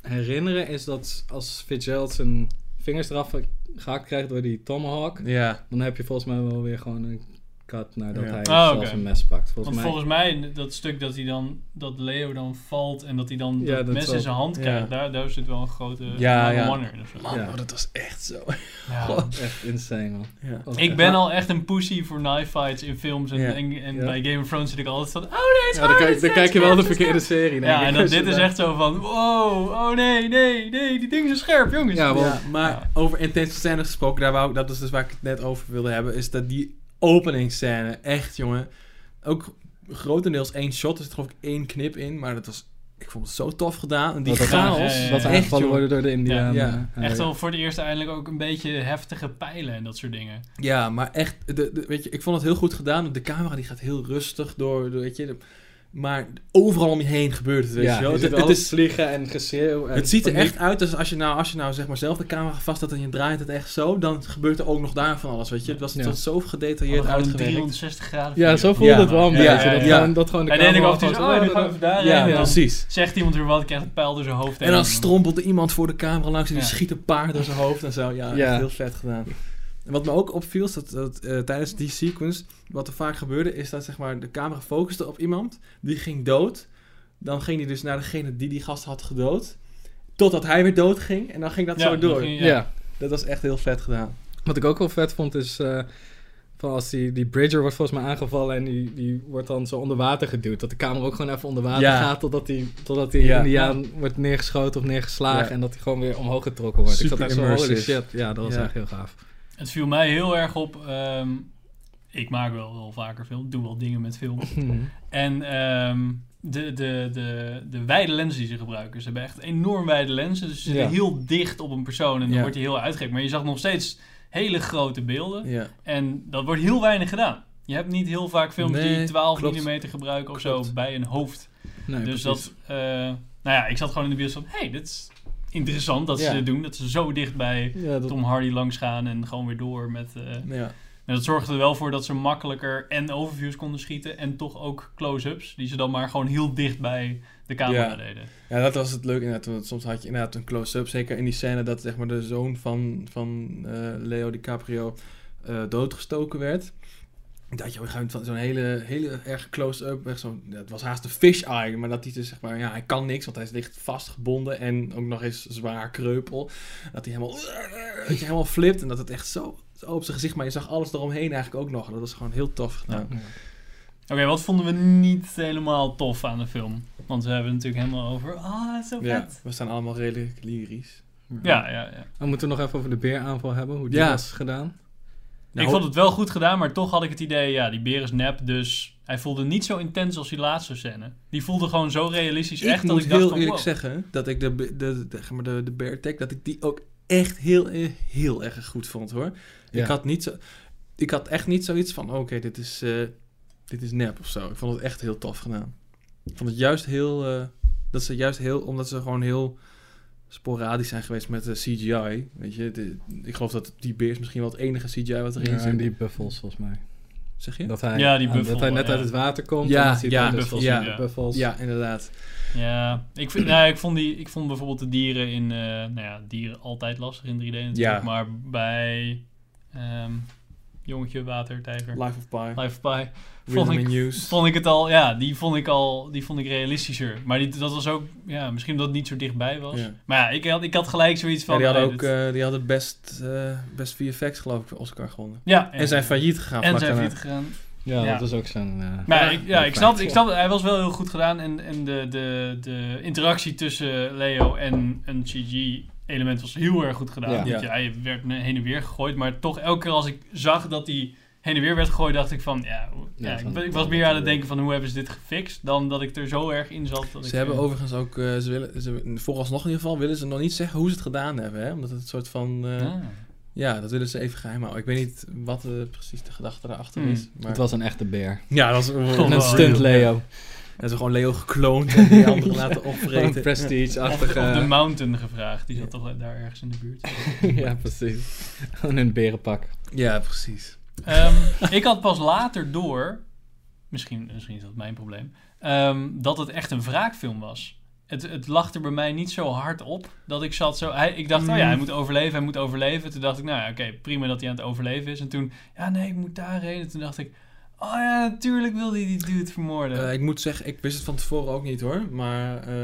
[SPEAKER 3] herinneren is dat als Fitzgerald zijn vingers eraf gehakt krijgt door die tomahawk,
[SPEAKER 1] Ja,
[SPEAKER 3] dan heb je volgens mij wel weer gewoon een cut nadat
[SPEAKER 1] Ja.
[SPEAKER 3] hij
[SPEAKER 2] Ah,
[SPEAKER 3] zelf
[SPEAKER 2] oké.
[SPEAKER 3] een mes pakt.
[SPEAKER 2] Want
[SPEAKER 3] Volgens mij.
[SPEAKER 2] volgens mij, dat stuk dat hij dan, dat Leo dan valt en dat hij dan
[SPEAKER 3] Ja,
[SPEAKER 2] dat
[SPEAKER 3] dat
[SPEAKER 2] mes
[SPEAKER 3] wel.
[SPEAKER 2] in zijn hand
[SPEAKER 1] Ja.
[SPEAKER 2] krijgt, daar, daar zit wel een grote
[SPEAKER 1] Ja,
[SPEAKER 2] lange
[SPEAKER 1] ja.
[SPEAKER 2] wanner in of zo.
[SPEAKER 1] man,
[SPEAKER 3] Ja.
[SPEAKER 1] oh, dat was echt zo.
[SPEAKER 2] Ja.
[SPEAKER 1] God.
[SPEAKER 3] Echt insane, man.
[SPEAKER 1] Ja.
[SPEAKER 3] Was
[SPEAKER 2] Ik
[SPEAKER 3] echt-
[SPEAKER 2] ben al echt een pussy voor knife fights in films en,
[SPEAKER 1] Ja.
[SPEAKER 2] en, en
[SPEAKER 3] Ja.
[SPEAKER 2] bij Game of Thrones zit ik altijd van, oh nee, het is
[SPEAKER 3] Ja, dan,
[SPEAKER 2] hard,
[SPEAKER 3] kijk,
[SPEAKER 2] het
[SPEAKER 3] dan
[SPEAKER 2] is
[SPEAKER 3] kijk je wel
[SPEAKER 2] hard,
[SPEAKER 3] de
[SPEAKER 2] het is
[SPEAKER 3] verkeerde
[SPEAKER 2] hard.
[SPEAKER 3] serie. denk
[SPEAKER 2] Ja,
[SPEAKER 3] ik, (laughs)
[SPEAKER 2] en dan,
[SPEAKER 3] als je
[SPEAKER 2] dit is
[SPEAKER 3] daar-
[SPEAKER 2] echt zo van, wow, oh nee, nee, nee, die dingen zijn scherp, jongens.
[SPEAKER 3] Ja, wel.
[SPEAKER 1] Ja, maar
[SPEAKER 2] Ja.
[SPEAKER 1] over intense scènes gesproken, daar wou, ik- dat is dus waar ik het net over wilde hebben, is dat die openingsscène, echt jongen, ook grotendeels één shot, er zit geloof ik één knip in, maar dat was, ik vond het zo tof gedaan. En die
[SPEAKER 3] dat
[SPEAKER 1] chaos,
[SPEAKER 2] Ja, ja, ja.
[SPEAKER 3] Dat
[SPEAKER 2] Echt,
[SPEAKER 3] aangevallen
[SPEAKER 1] joh.
[SPEAKER 3] worden door de Indianen.
[SPEAKER 1] Ja.
[SPEAKER 3] Ja,
[SPEAKER 2] Echt
[SPEAKER 3] ja.
[SPEAKER 2] wel voor het eerst eindelijk ook een beetje heftige pijlen en dat soort dingen.
[SPEAKER 1] Ja, maar echt, de, de- weet je, ik vond het heel goed gedaan. want De camera die gaat heel rustig door, door, weet je. de- maar overal om je heen gebeurt het, weet
[SPEAKER 3] Ja,
[SPEAKER 1] je wel.
[SPEAKER 3] je
[SPEAKER 1] Het,
[SPEAKER 3] ziet
[SPEAKER 1] het
[SPEAKER 3] alles eh,
[SPEAKER 1] is,
[SPEAKER 3] vliegen en geschreeuw. en
[SPEAKER 1] het ziet er
[SPEAKER 3] paniek.
[SPEAKER 1] echt uit als als je nou, als je nou zeg maar zelf de camera vast had en je draait het echt zo, dan gebeurt er ook nog daar van alles, weet je. Het was, het
[SPEAKER 3] Ja.
[SPEAKER 1] was zo gedetailleerd
[SPEAKER 2] Gewoon een
[SPEAKER 1] uitgewerkt.
[SPEAKER 2] 360 graden video.
[SPEAKER 3] Ja, zo voelt
[SPEAKER 1] Ja.
[SPEAKER 3] het wel een
[SPEAKER 1] Ja,
[SPEAKER 3] beetje.
[SPEAKER 1] ja,
[SPEAKER 3] dat,
[SPEAKER 1] ja.
[SPEAKER 3] Gewoon, dat gewoon de
[SPEAKER 2] Hij deed ik ook
[SPEAKER 3] gewoon
[SPEAKER 2] dus,
[SPEAKER 3] zo-
[SPEAKER 2] oh, nu gaan we even daarheen.
[SPEAKER 1] Ja,
[SPEAKER 2] en dan
[SPEAKER 1] precies.
[SPEAKER 2] Zegt iemand weer wat, krijgt een pijl door zijn hoofd.
[SPEAKER 1] En dan strompelt er iemand voor de camera langs en die
[SPEAKER 2] Ja.
[SPEAKER 1] schiet een paard door zijn hoofd en zo. Ja,
[SPEAKER 3] Ja.
[SPEAKER 1] echt heel vet gedaan. En wat me ook opviel, is dat, dat eh, tijdens die sequence, wat er vaak gebeurde, is dat zeg maar, de camera focuste op iemand, die ging dood. Dan ging die dus naar degene die die gast had gedood. Totdat hij weer dood ging en dan ging dat
[SPEAKER 2] Ja,
[SPEAKER 1] zo
[SPEAKER 2] dan
[SPEAKER 1] door.
[SPEAKER 2] ging-
[SPEAKER 3] Ja.
[SPEAKER 1] Dat was echt heel vet gedaan.
[SPEAKER 3] Wat ik ook wel vet vond is... eh, van als die, die Bridger wordt volgens mij aangevallen en die, die wordt dan zo onder water geduwd. Dat de camera ook gewoon even onder water
[SPEAKER 1] Ja.
[SPEAKER 3] gaat totdat die, totdat die
[SPEAKER 1] Ja.
[SPEAKER 3] Indiaan wordt neergeschoten of neergeslagen.
[SPEAKER 1] Ja.
[SPEAKER 3] En dat hij gewoon weer omhoog getrokken wordt.
[SPEAKER 1] Super
[SPEAKER 3] ik zat echt zo, holy
[SPEAKER 1] immersive.
[SPEAKER 3] shit. Ja, dat was
[SPEAKER 1] Ja.
[SPEAKER 3] echt heel gaaf.
[SPEAKER 1] (laughs)
[SPEAKER 2] Het viel mij heel erg op. ehm, ik maak wel, wel vaker film, doe wel dingen met film. En ehm, de, de, de, de wijde lenzen die ze gebruiken. Ze hebben echt enorm wijde lenzen. Dus ze zitten
[SPEAKER 3] Ja.
[SPEAKER 2] heel dicht op een persoon en dan
[SPEAKER 1] Ja.
[SPEAKER 2] wordt hij heel uitgerekt. Maar je zag nog steeds hele grote beelden.
[SPEAKER 1] Ja.
[SPEAKER 2] En dat wordt heel weinig gedaan. Je hebt niet heel vaak films die
[SPEAKER 1] Nee,
[SPEAKER 2] 12
[SPEAKER 1] klopt.
[SPEAKER 2] mm gebruiken of
[SPEAKER 1] Klopt.
[SPEAKER 2] zo bij een hoofd.
[SPEAKER 3] Nee,
[SPEAKER 2] dus
[SPEAKER 3] precies.
[SPEAKER 2] dat, eh, nou ja, ik zat gewoon in de bios van, hey, dit is interessant dat
[SPEAKER 1] Ja.
[SPEAKER 2] ze dit doen. Dat ze zo dicht bij
[SPEAKER 3] Ja, dat-
[SPEAKER 2] Tom Hardy langs gaan en gewoon weer door met... eh,
[SPEAKER 1] Ja.
[SPEAKER 2] en dat zorgde er wel voor dat ze makkelijker en overviews konden schieten en toch ook close-ups, die ze dan maar gewoon heel dicht bij de camera
[SPEAKER 1] Ja.
[SPEAKER 2] deden.
[SPEAKER 1] ja, dat was het leuke inderdaad. want soms had je inderdaad een close-up. Zeker in die scène dat zeg maar, de zoon van, van eh, Leo DiCaprio eh, doodgestoken werd. Dat je op een gegeven moment van zo'n hele, hele erg close-up, echt zo'n, ja, het was haast een fish-eye, maar dat hij dus zeg maar, ja, hij kan niks, want hij is licht vastgebonden en ook nog eens zwaar kreupel. Dat hij helemaal, dat je helemaal flipt en dat het echt zo, zo op zijn gezicht, maar je zag alles eromheen eigenlijk ook nog. En Dat was gewoon heel tof gedaan.
[SPEAKER 3] Ja.
[SPEAKER 2] Oké, wat vonden we niet helemaal tof aan de film? Want we hebben het natuurlijk helemaal over, ah, het is zo
[SPEAKER 1] Ja,
[SPEAKER 2] vet.
[SPEAKER 1] we staan allemaal redelijk lyrisch.
[SPEAKER 2] Ja, ja, ja.
[SPEAKER 3] We moeten nog even over de beeraanval hebben, hoe die
[SPEAKER 1] Ja.
[SPEAKER 3] was gedaan.
[SPEAKER 1] Nou,
[SPEAKER 2] ik vond het wel goed gedaan, maar toch had ik het idee, ja, die beer is nep, dus hij voelde niet zo intens als die laatste scène. Die voelde gewoon zo realistisch echt dat
[SPEAKER 1] moet
[SPEAKER 2] ik dacht
[SPEAKER 1] heel
[SPEAKER 2] van,
[SPEAKER 1] eerlijk
[SPEAKER 2] wow.
[SPEAKER 1] zeggen dat ik de, de, de, de- zeg maar de, de bear tech, dat ik die ook echt heel, eh, heel erg goed vond hoor.
[SPEAKER 3] Ja.
[SPEAKER 1] Ik, had niet zo, ik had echt niet zoiets van, oké, dit, is, eh dit is nep of zo. Ik vond het echt heel tof gedaan. Ik vond het juist heel, eh, dat ze juist heel, omdat ze gewoon heel sporadisch zijn geweest met eh, de CGI. Weet je, de- ik geloof dat die beer is misschien wel het enige CGI wat erin
[SPEAKER 3] Ja, en
[SPEAKER 1] zit.
[SPEAKER 3] die buffels volgens mij.
[SPEAKER 1] Zeg je?
[SPEAKER 3] Dat hij,
[SPEAKER 2] Ja, die buffel,
[SPEAKER 3] dat hij net
[SPEAKER 2] ja.
[SPEAKER 3] uit het water komt.
[SPEAKER 1] Ja,
[SPEAKER 3] en dat hij
[SPEAKER 1] ja,
[SPEAKER 3] daar dus
[SPEAKER 1] buffels,
[SPEAKER 3] volgens mij
[SPEAKER 2] ja.
[SPEAKER 3] de buffels.
[SPEAKER 1] Ja, inderdaad.
[SPEAKER 2] Ja, ik, vind, nou, ik, vond die, ik vond bijvoorbeeld de dieren in... eh, nou ja, dieren altijd lastig in 3D natuurlijk.
[SPEAKER 1] Ja.
[SPEAKER 2] Maar bij ehm, Jongetje, Water, Tijger,
[SPEAKER 1] Life of Pi,
[SPEAKER 2] Life of Pi...
[SPEAKER 1] Rhythm
[SPEAKER 2] Vond ik,
[SPEAKER 1] and News.
[SPEAKER 2] vond ik het al... Ja, die vond ik al... Die vond ik realistischer. Maar die, dat was ook... Ja, misschien omdat het niet zo dichtbij was.
[SPEAKER 1] Ja.
[SPEAKER 2] Maar ja, ik had, ik had gelijk zoiets
[SPEAKER 1] Ja,
[SPEAKER 2] van...
[SPEAKER 1] die hadden
[SPEAKER 2] nee,
[SPEAKER 1] ook
[SPEAKER 2] dit-
[SPEAKER 1] eh, die hadden best, eh best VFX geloof ik voor Oscar gewonnen.
[SPEAKER 2] ja,
[SPEAKER 1] En zijn failliet gegaan.
[SPEAKER 2] En
[SPEAKER 1] vlak
[SPEAKER 2] zijn
[SPEAKER 1] daarna.
[SPEAKER 2] failliet gegaan.
[SPEAKER 3] Ja,
[SPEAKER 2] Ja.
[SPEAKER 3] dat is ook zijn... eh,
[SPEAKER 2] Maar ja, ik, ja,
[SPEAKER 3] een
[SPEAKER 2] ik, snap,
[SPEAKER 3] feit.
[SPEAKER 2] ik snap, hij was wel heel goed gedaan. En, en de, de, de interactie tussen Leo en een CG-element was heel erg goed gedaan.
[SPEAKER 3] Ja.
[SPEAKER 2] Want
[SPEAKER 1] Ja.
[SPEAKER 2] ja, hij werd ne- heen en weer gegooid. Maar toch, elke keer als ik zag dat hij heen en weer werd gegooid, dacht ik van... Ja, hoe-
[SPEAKER 3] Ja,
[SPEAKER 2] ja,
[SPEAKER 3] van-
[SPEAKER 2] ik, ben- ik was
[SPEAKER 3] van-
[SPEAKER 2] meer aan het denken van hoe hebben ze dit gefixt... dan dat ik er zo erg in zat. Dat
[SPEAKER 1] Ze
[SPEAKER 2] ik,
[SPEAKER 1] hebben
[SPEAKER 2] eh,
[SPEAKER 1] overigens ook, eh, ze willen, ze, vooralsnog in ieder geval, willen ze nog niet zeggen hoe ze het gedaan hebben. Hè? Omdat het een soort van, eh,
[SPEAKER 2] ah.
[SPEAKER 1] ja, dat willen ze even geheim houden. Ik weet niet wat eh, precies de gedachte daarachter
[SPEAKER 2] Hmm.
[SPEAKER 1] is. Maar...
[SPEAKER 3] Het was een echte beer.
[SPEAKER 1] Ja, dat is
[SPEAKER 2] Gewoon
[SPEAKER 3] een
[SPEAKER 2] wel
[SPEAKER 3] stunt
[SPEAKER 2] real.
[SPEAKER 3] Leo.
[SPEAKER 1] En ze gewoon Leo gekloond en die anderen
[SPEAKER 3] (laughs)
[SPEAKER 1] laten
[SPEAKER 3] Een
[SPEAKER 1] opvreten.
[SPEAKER 2] Of, of
[SPEAKER 3] prestige-achtige...
[SPEAKER 2] de Mountain gevraagd. Die zat toch eh, daar ergens in de buurt.
[SPEAKER 3] (laughs) ja, precies. Gewoon een berenpak.
[SPEAKER 1] Ja, precies.
[SPEAKER 2] Ehm, (laughs) ik had pas later door, misschien, misschien is dat mijn probleem, ehm, dat het echt een wraakfilm was. Het, het lag er bij mij niet zo hard op dat ik zat zo. Hij, ik dacht, oh ja,
[SPEAKER 3] Mm.
[SPEAKER 2] hij moet overleven, hij moet overleven. Toen dacht ik, nou ja, oké, prima dat hij aan het overleven is. En toen, ja, nee, ik moet daarheen. En toen dacht ik, oh ja, natuurlijk wil hij die dude vermoorden.
[SPEAKER 1] Eh, ik moet zeggen, ik wist het van tevoren ook niet hoor. Maar eh,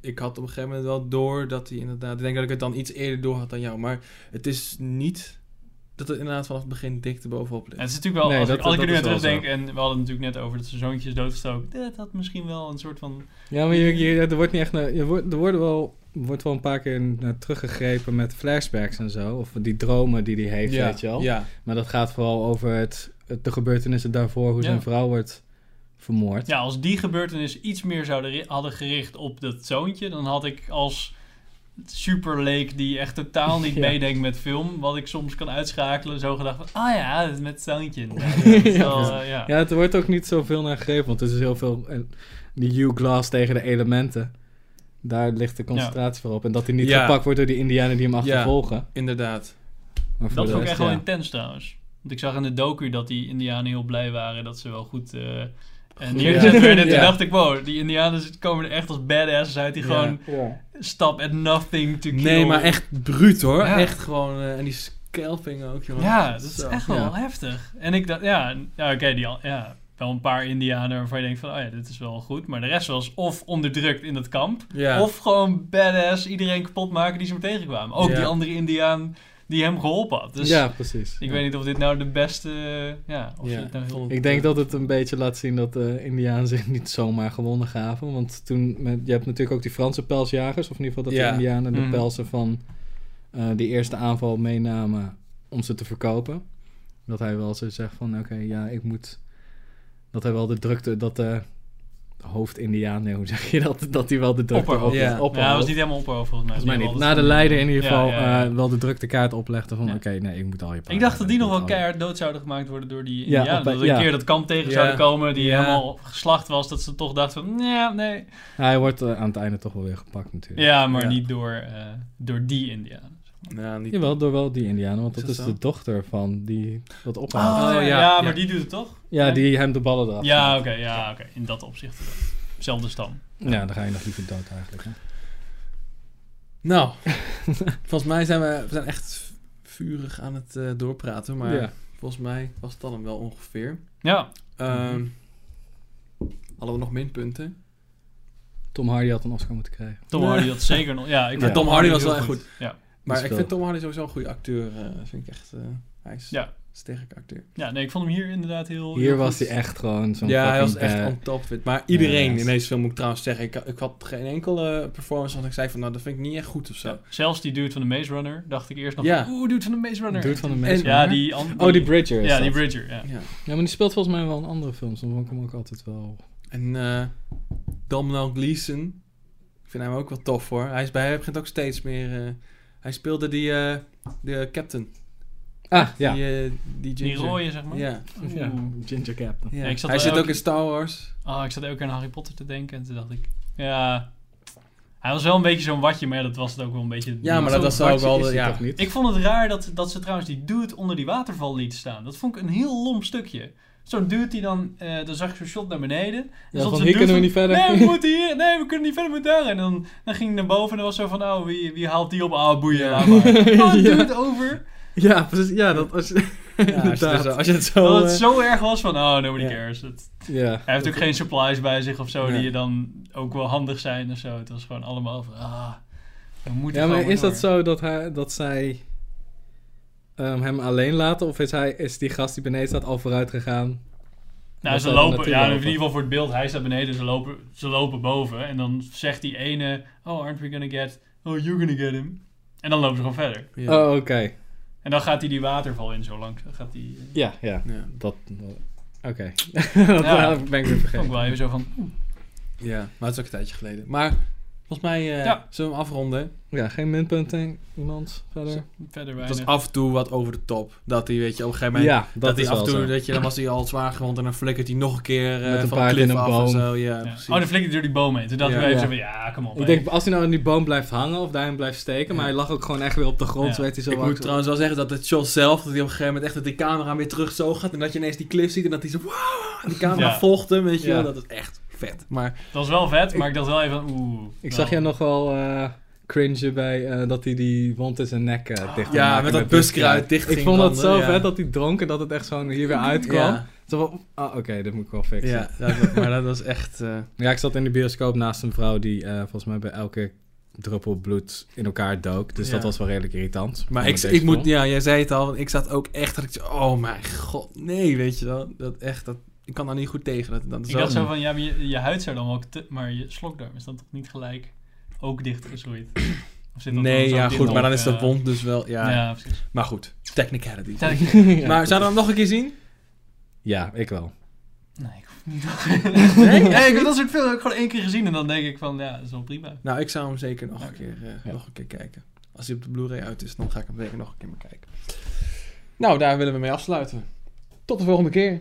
[SPEAKER 1] ik had op een gegeven moment wel door dat hij inderdaad. Ik denk dat ik het dan iets eerder door had dan jou. Maar het is niet dat het inderdaad vanaf het begin dik erbovenop ligt.
[SPEAKER 2] het is natuurlijk wel,
[SPEAKER 3] Nee,
[SPEAKER 2] als,
[SPEAKER 3] dat-
[SPEAKER 2] ik, als ik er
[SPEAKER 3] dat
[SPEAKER 2] nu aan
[SPEAKER 3] is wel
[SPEAKER 2] terugdenk, en we hadden het natuurlijk net over dat zijn zoontje is doodgestoken. Dat had misschien wel een soort van.
[SPEAKER 3] Ja, maar je, je- er wordt niet echt naar, je wordt, er worden wel, wordt wel een paar keer naar teruggegrepen met flashbacks en zo. Of die dromen die hij heeft,
[SPEAKER 1] ja,
[SPEAKER 3] weet je wel.
[SPEAKER 1] Ja,
[SPEAKER 3] Maar dat gaat vooral over het, het- de gebeurtenissen daarvoor, hoe
[SPEAKER 2] Ja.
[SPEAKER 3] zijn vrouw wordt vermoord.
[SPEAKER 2] Ja, als die gebeurtenis iets meer zouden ri- hadden gericht op dat zoontje, dan had ik als superleek die echt totaal niet
[SPEAKER 3] Ja.
[SPEAKER 2] meedenkt met film, wat ik soms kan uitschakelen, zo gedacht van, ah ja, dat is met zoontje.
[SPEAKER 3] (laughs)
[SPEAKER 2] inderdaad. Dat is wel, eh, ja.
[SPEAKER 3] Ja, het wordt ook niet zoveel naar gegrepen, want het is heel veel eh, die Hugh Glass tegen de elementen. Daar ligt de concentratie voor op. En dat hij niet
[SPEAKER 1] Ja.
[SPEAKER 3] gepakt wordt door die indianen die hem achtervolgen.
[SPEAKER 1] inderdaad.
[SPEAKER 3] Maar voor
[SPEAKER 2] Dat vond
[SPEAKER 3] de
[SPEAKER 2] ik
[SPEAKER 3] rest,
[SPEAKER 2] echt wel
[SPEAKER 3] ja.
[SPEAKER 2] intens trouwens. Want ik zag in de docu dat die indianen heel blij waren dat ze wel goed... eh en
[SPEAKER 3] Ja.
[SPEAKER 2] neergezet werden. Toen
[SPEAKER 1] Ja.
[SPEAKER 2] dacht ik, wow, die indianen komen er echt als badasses uit. Die
[SPEAKER 1] Ja.
[SPEAKER 2] gewoon stap at nothing to kill.
[SPEAKER 1] Nee, maar echt bruut hoor.
[SPEAKER 2] Ja.
[SPEAKER 1] Echt gewoon. eh, en die scalping ook, jongen.
[SPEAKER 2] Ja, dat is
[SPEAKER 1] Zo.
[SPEAKER 2] echt wel heftig. En ik dacht, ja, ja oké, die al, ja, wel een paar Indianen waarvan je denkt van, oh ja, dit is wel goed. Maar de rest was of onderdrukt in het kamp,
[SPEAKER 1] Ja.
[SPEAKER 2] of gewoon badass iedereen kapot maken die ze maar tegenkwamen. Ook
[SPEAKER 1] Ja.
[SPEAKER 2] die andere Indiaan die hem geholpen had. Dus
[SPEAKER 3] ja, precies.
[SPEAKER 2] ik
[SPEAKER 3] Ja.
[SPEAKER 2] weet niet of dit nou de beste, eh, ja, of
[SPEAKER 1] Ja,
[SPEAKER 2] dit nou
[SPEAKER 1] ik
[SPEAKER 2] heel...
[SPEAKER 1] vond
[SPEAKER 3] Ik denk dat het een beetje laat zien dat de Indianen zich niet zomaar gewonnen gaven. Want toen, met- je hebt natuurlijk ook die Franse pelsjagers, of in ieder geval dat
[SPEAKER 1] Ja.
[SPEAKER 3] de Indianen de
[SPEAKER 2] Mhm.
[SPEAKER 3] pelsen van eh, die eerste aanval meenamen om ze te verkopen. Dat hij wel zo zegt van, oké, ja, ik moet... Dat hij wel de drukte, dat eh, de hoofd-Indiaan, nee, hoe zeg je dat? (laughs) Dat hij wel de drukte
[SPEAKER 2] Opperhoofd.
[SPEAKER 1] Ja.
[SPEAKER 3] oplegt.
[SPEAKER 2] Ja, dat Nou, was niet helemaal opperhoofd volgens mij.
[SPEAKER 3] Volgens mij
[SPEAKER 2] Die
[SPEAKER 3] niet.
[SPEAKER 2] wel
[SPEAKER 3] Na de leider in ieder
[SPEAKER 2] Ja,
[SPEAKER 3] geval
[SPEAKER 2] ja, ja.
[SPEAKER 3] eh, wel de drukte kaart oplegde van,
[SPEAKER 2] Ja.
[SPEAKER 3] oké, nee, ik moet al je paarden
[SPEAKER 2] ik dacht dat die nog wel
[SPEAKER 3] hebben, ik moet al je-
[SPEAKER 2] keihard dood zouden gemaakt worden door die
[SPEAKER 3] Ja,
[SPEAKER 2] Indianen.
[SPEAKER 3] op-
[SPEAKER 2] dat er een
[SPEAKER 3] ja.
[SPEAKER 2] keer dat kamp tegen
[SPEAKER 1] Ja.
[SPEAKER 2] zouden komen die
[SPEAKER 1] Ja.
[SPEAKER 2] helemaal geslacht was. Dat ze toch dachten van, nee, nee,
[SPEAKER 3] Hij wordt eh, aan het einde toch wel weer gepakt natuurlijk.
[SPEAKER 2] Ja, maar
[SPEAKER 1] Ja.
[SPEAKER 2] niet door, eh, door die Indianen.
[SPEAKER 1] Nou, niet...
[SPEAKER 3] Jawel, door wel die indianen, want
[SPEAKER 1] Is
[SPEAKER 3] dat is
[SPEAKER 1] dat zo?
[SPEAKER 3] de dochter van die dat ophaalt.
[SPEAKER 2] Oh, ja,
[SPEAKER 1] ja,
[SPEAKER 2] ja,
[SPEAKER 1] ja.
[SPEAKER 2] maar die doet het toch?
[SPEAKER 3] ja,
[SPEAKER 2] nee.
[SPEAKER 3] die hem de ballen eraf.
[SPEAKER 2] Ja, oké, ja, oké. in dat opzicht. wel. Zelfde stam.
[SPEAKER 3] Ja, dan ga je nog liever dood eigenlijk. Hè? (laughs)
[SPEAKER 1] Nou, volgens mij zijn we, we zijn echt vurig aan het eh, doorpraten. Maar
[SPEAKER 3] Ja.
[SPEAKER 1] volgens mij was het dan hem wel ongeveer.
[SPEAKER 2] Ja,
[SPEAKER 1] Ehm,
[SPEAKER 3] Mhm.
[SPEAKER 1] Hadden we nog minpunten?
[SPEAKER 3] Tom Hardy had een Oscar moeten krijgen.
[SPEAKER 2] Tom
[SPEAKER 1] Nee.
[SPEAKER 2] Hardy had zeker nog... Ja, ik
[SPEAKER 1] Maar
[SPEAKER 2] vond
[SPEAKER 1] Tom Hardy was
[SPEAKER 2] heel
[SPEAKER 1] wel echt
[SPEAKER 2] Ja.
[SPEAKER 1] Maar
[SPEAKER 3] is
[SPEAKER 1] ik
[SPEAKER 3] wel-
[SPEAKER 1] vind Tom Hardy sowieso een goede acteur. eh, vind ik echt... eh, hij is
[SPEAKER 2] Ja.
[SPEAKER 1] sterke acteur.
[SPEAKER 2] Ja, nee, ik vond hem hier inderdaad heel.
[SPEAKER 3] Hier
[SPEAKER 2] heel
[SPEAKER 3] was
[SPEAKER 2] Oh, goed.
[SPEAKER 3] hij echt gewoon zo'n
[SPEAKER 1] ja, hij was
[SPEAKER 3] fucking
[SPEAKER 1] echt
[SPEAKER 3] bad.
[SPEAKER 1] on top fit. Maar iedereen in
[SPEAKER 3] Ja, ja.
[SPEAKER 1] deze film moet ik trouwens zeggen. Ik, ik had geen enkele performance waarvan ik zei van... Nou, dat vind ik niet echt goed of zo.
[SPEAKER 2] Ja, zelfs die dude van de Maze Runner dacht ik eerst nog.
[SPEAKER 1] Ja.
[SPEAKER 2] Oeh, dude van de Maze Runner.
[SPEAKER 3] Dude van de
[SPEAKER 1] En-
[SPEAKER 3] mensen.
[SPEAKER 2] Ja, die. an-
[SPEAKER 3] Oh, die Bridger. is
[SPEAKER 2] Ja,
[SPEAKER 3] dat.
[SPEAKER 2] die Bridger. Ja.
[SPEAKER 1] Ja.
[SPEAKER 3] Ja, maar die speelt volgens mij wel in andere films. Dan vond ik hem ook altijd wel.
[SPEAKER 1] En eh Domhnall Gleeson. Ik vind hem ook wel tof hoor. Hij, is bij, hij begint ook steeds meer... eh, hij speelde die... eh, de captain.
[SPEAKER 3] Ah, ja.
[SPEAKER 1] Die, eh, die
[SPEAKER 2] Die
[SPEAKER 1] ginger.
[SPEAKER 2] rode, zeg maar.
[SPEAKER 1] Ja.
[SPEAKER 2] Oeh.
[SPEAKER 3] Ja, Ginger Captain.
[SPEAKER 1] ja.
[SPEAKER 2] Ja, ik zat
[SPEAKER 1] hij
[SPEAKER 2] wel
[SPEAKER 1] zit
[SPEAKER 2] elke-
[SPEAKER 1] ook in Star Wars.
[SPEAKER 2] Ah, ik zat ook aan Harry Potter te denken en toen dacht ik, ja, hij was wel een beetje zo'n watje, maar ja, dat was het ook wel een beetje.
[SPEAKER 1] Ja, maar dat
[SPEAKER 3] Zo'n
[SPEAKER 1] was ook
[SPEAKER 3] watje
[SPEAKER 1] wel...
[SPEAKER 3] is
[SPEAKER 1] de-
[SPEAKER 3] hij
[SPEAKER 1] Ja.
[SPEAKER 3] toch niet?
[SPEAKER 2] Ik vond het raar dat, dat ze trouwens die dude onder die waterval lieten staan. Dat vond ik een heel lom stukje. Zo'n dude die dan, eh, dan zag ik zo'n shot naar beneden. En
[SPEAKER 3] Ja,
[SPEAKER 2] stond
[SPEAKER 3] van
[SPEAKER 2] zo'n
[SPEAKER 3] hier
[SPEAKER 2] dude
[SPEAKER 3] kunnen we
[SPEAKER 2] van,
[SPEAKER 3] niet verder.
[SPEAKER 2] Nee, we moeten hier, nee, we kunnen niet verder met daar. En dan, dan ging hij naar boven en dan was zo van, oh, wie, wie haalt die op? Ah, boeien, laat
[SPEAKER 3] (laughs)
[SPEAKER 2] maar. Oh,
[SPEAKER 3] Ja.
[SPEAKER 2] dude, over.
[SPEAKER 3] (laughs) Ja, precies. Ja, dat was.
[SPEAKER 1] Ja, als, je het
[SPEAKER 3] Inderdaad.
[SPEAKER 1] zo, als je het zo...
[SPEAKER 2] Dat het
[SPEAKER 1] eh,
[SPEAKER 2] zo erg was van, oh, nobody
[SPEAKER 1] Ja.
[SPEAKER 2] cares. Dat,
[SPEAKER 3] Ja.
[SPEAKER 2] Hij heeft ook geen supplies bij zich of zo,
[SPEAKER 1] Nee.
[SPEAKER 2] die je dan ook wel handig zijn of zo. Het was gewoon allemaal van, ah, we moeten
[SPEAKER 3] Ja, maar
[SPEAKER 2] gewoon
[SPEAKER 3] is dat
[SPEAKER 2] door.
[SPEAKER 3] zo dat, hij, dat zij ehm, hem alleen laten? Of is, hij, is die gast die beneden staat al vooruit gegaan?
[SPEAKER 2] Nou,
[SPEAKER 3] Dat
[SPEAKER 2] ze
[SPEAKER 3] hij er
[SPEAKER 2] lopen,
[SPEAKER 3] naartoe
[SPEAKER 2] ja, in
[SPEAKER 3] lopen.
[SPEAKER 2] ieder geval voor het beeld. Hij staat beneden, ze lopen, ze lopen boven. En dan zegt die ene, oh, aren't we gonna get, oh, you're gonna get him. En dan lopen ze gewoon verder.
[SPEAKER 1] ja.
[SPEAKER 3] Oh, oké.
[SPEAKER 2] En dan gaat hij die waterval in zo lang. Dan gaat die, eh,
[SPEAKER 3] Ja, ja.
[SPEAKER 1] Ja.
[SPEAKER 3] Dat. Oké. (laughs) dat eh,
[SPEAKER 2] Ja.
[SPEAKER 3] ben ik weer
[SPEAKER 2] ook
[SPEAKER 3] vergeten.
[SPEAKER 2] wel even zo van,
[SPEAKER 1] Ja, maar het is ook een tijdje geleden. Maar volgens mij eh,
[SPEAKER 2] Ja.
[SPEAKER 1] zullen we hem afronden.
[SPEAKER 3] Ja, geen minpunt, denk iemand verder.
[SPEAKER 2] verder
[SPEAKER 1] Het was
[SPEAKER 2] weinig.
[SPEAKER 1] af en toe wat over de top. Dat hij, weet je, op een gegeven moment...
[SPEAKER 3] ja, dat,
[SPEAKER 1] dat,
[SPEAKER 3] is
[SPEAKER 1] hij af en
[SPEAKER 3] wel
[SPEAKER 1] toe,
[SPEAKER 3] zo.
[SPEAKER 1] dat je, dan was hij al zwaar gewond en dan flikkert hij nog een keer eh
[SPEAKER 3] Met een
[SPEAKER 1] van
[SPEAKER 3] paard
[SPEAKER 1] de
[SPEAKER 3] in
[SPEAKER 1] klif
[SPEAKER 3] een
[SPEAKER 1] af
[SPEAKER 3] boom.
[SPEAKER 1] en zo. Ja,
[SPEAKER 2] Ja.
[SPEAKER 1] precies.
[SPEAKER 2] Oh, dan flikkerde door die boom heen. Toen
[SPEAKER 1] Ja.
[SPEAKER 2] dachten we even
[SPEAKER 3] Ja.
[SPEAKER 2] zo van, ja, kom op. hè.
[SPEAKER 3] Ik denk, als hij nou in die boom blijft hangen of daarin blijft steken, maar hij lag ook gewoon echt weer op de grond,
[SPEAKER 2] Ja.
[SPEAKER 3] zo werd hij zo
[SPEAKER 1] ik
[SPEAKER 3] wakker.
[SPEAKER 1] moet trouwens wel zeggen dat het shot zelf, dat hij op een gegeven moment echt dat die camera weer terug zo gaat en dat je ineens die cliff ziet en dat hij zo wow, en die camera
[SPEAKER 2] Ja.
[SPEAKER 1] volgt hem, weet je
[SPEAKER 3] Ja.
[SPEAKER 1] wel. Dat is echt vet. Maar
[SPEAKER 2] Dat was wel vet, maar ik dacht wel even, oeh.
[SPEAKER 3] Ik
[SPEAKER 1] Nou.
[SPEAKER 3] zag jij nog wel eh cringen bij eh, dat hij die wond in zijn nek eh, dicht ging
[SPEAKER 1] ja,
[SPEAKER 3] maken
[SPEAKER 1] met dat buskruid dicht
[SPEAKER 3] Ik
[SPEAKER 1] ging
[SPEAKER 3] vond dat
[SPEAKER 1] branden,
[SPEAKER 3] zo
[SPEAKER 1] ja.
[SPEAKER 3] vet dat hij dronk en dat het echt zo hier weer uitkwam.
[SPEAKER 1] Ja,
[SPEAKER 3] Zo van, ah, oké, dit moet ik wel fixen.
[SPEAKER 1] ja
[SPEAKER 3] Ja.
[SPEAKER 1] dat,
[SPEAKER 3] (laughs)
[SPEAKER 1] maar dat was echt... eh,
[SPEAKER 3] ik zat in de bioscoop naast een vrouw die eh, volgens mij bij elke druppel bloed in elkaar dook. Dus
[SPEAKER 1] Ja.
[SPEAKER 3] dat was wel redelijk irritant.
[SPEAKER 1] Maar
[SPEAKER 3] Met
[SPEAKER 1] ik,
[SPEAKER 3] deze
[SPEAKER 1] ik moet,
[SPEAKER 3] film.
[SPEAKER 1] ja, jij zei het al, want ik zat ook echt dat ik zei, oh mijn god, nee, weet je wel. Dat echt, dat, ik kan daar niet goed tegen. Dat, dat
[SPEAKER 2] Ik
[SPEAKER 1] zo.
[SPEAKER 2] dacht zo van, ja, maar je, je huid zou dan wel... te- maar je slokdarm is dan toch niet gelijk ook dichtgeschroeid? Of zit dat
[SPEAKER 1] nee,
[SPEAKER 2] zo
[SPEAKER 1] ja
[SPEAKER 2] dik
[SPEAKER 1] goed, maar dan
[SPEAKER 2] nog,
[SPEAKER 1] is dat
[SPEAKER 2] eh,
[SPEAKER 1] wond dus wel, ja. (laughs)
[SPEAKER 2] Ja, precies.
[SPEAKER 1] Maar goed, technicality.
[SPEAKER 2] Uiteindelijk-
[SPEAKER 3] Ja,
[SPEAKER 1] maar zouden we hem nog een keer zien?
[SPEAKER 3] Ja, ik wel.
[SPEAKER 2] Nee, ik hoef niet nog... nee? Ja, ik heb dat soort films ook gewoon één keer gezien en dan denk ik van, ja, dat is wel prima.
[SPEAKER 1] Nou, ik zou hem zeker nog een keer, eh,
[SPEAKER 3] Ja.
[SPEAKER 1] nog een keer kijken. Als hij op de Blu-ray uit is, dan ga ik hem zeker nog een keer bekijken. Nou, daar willen we mee afsluiten. Tot de volgende keer.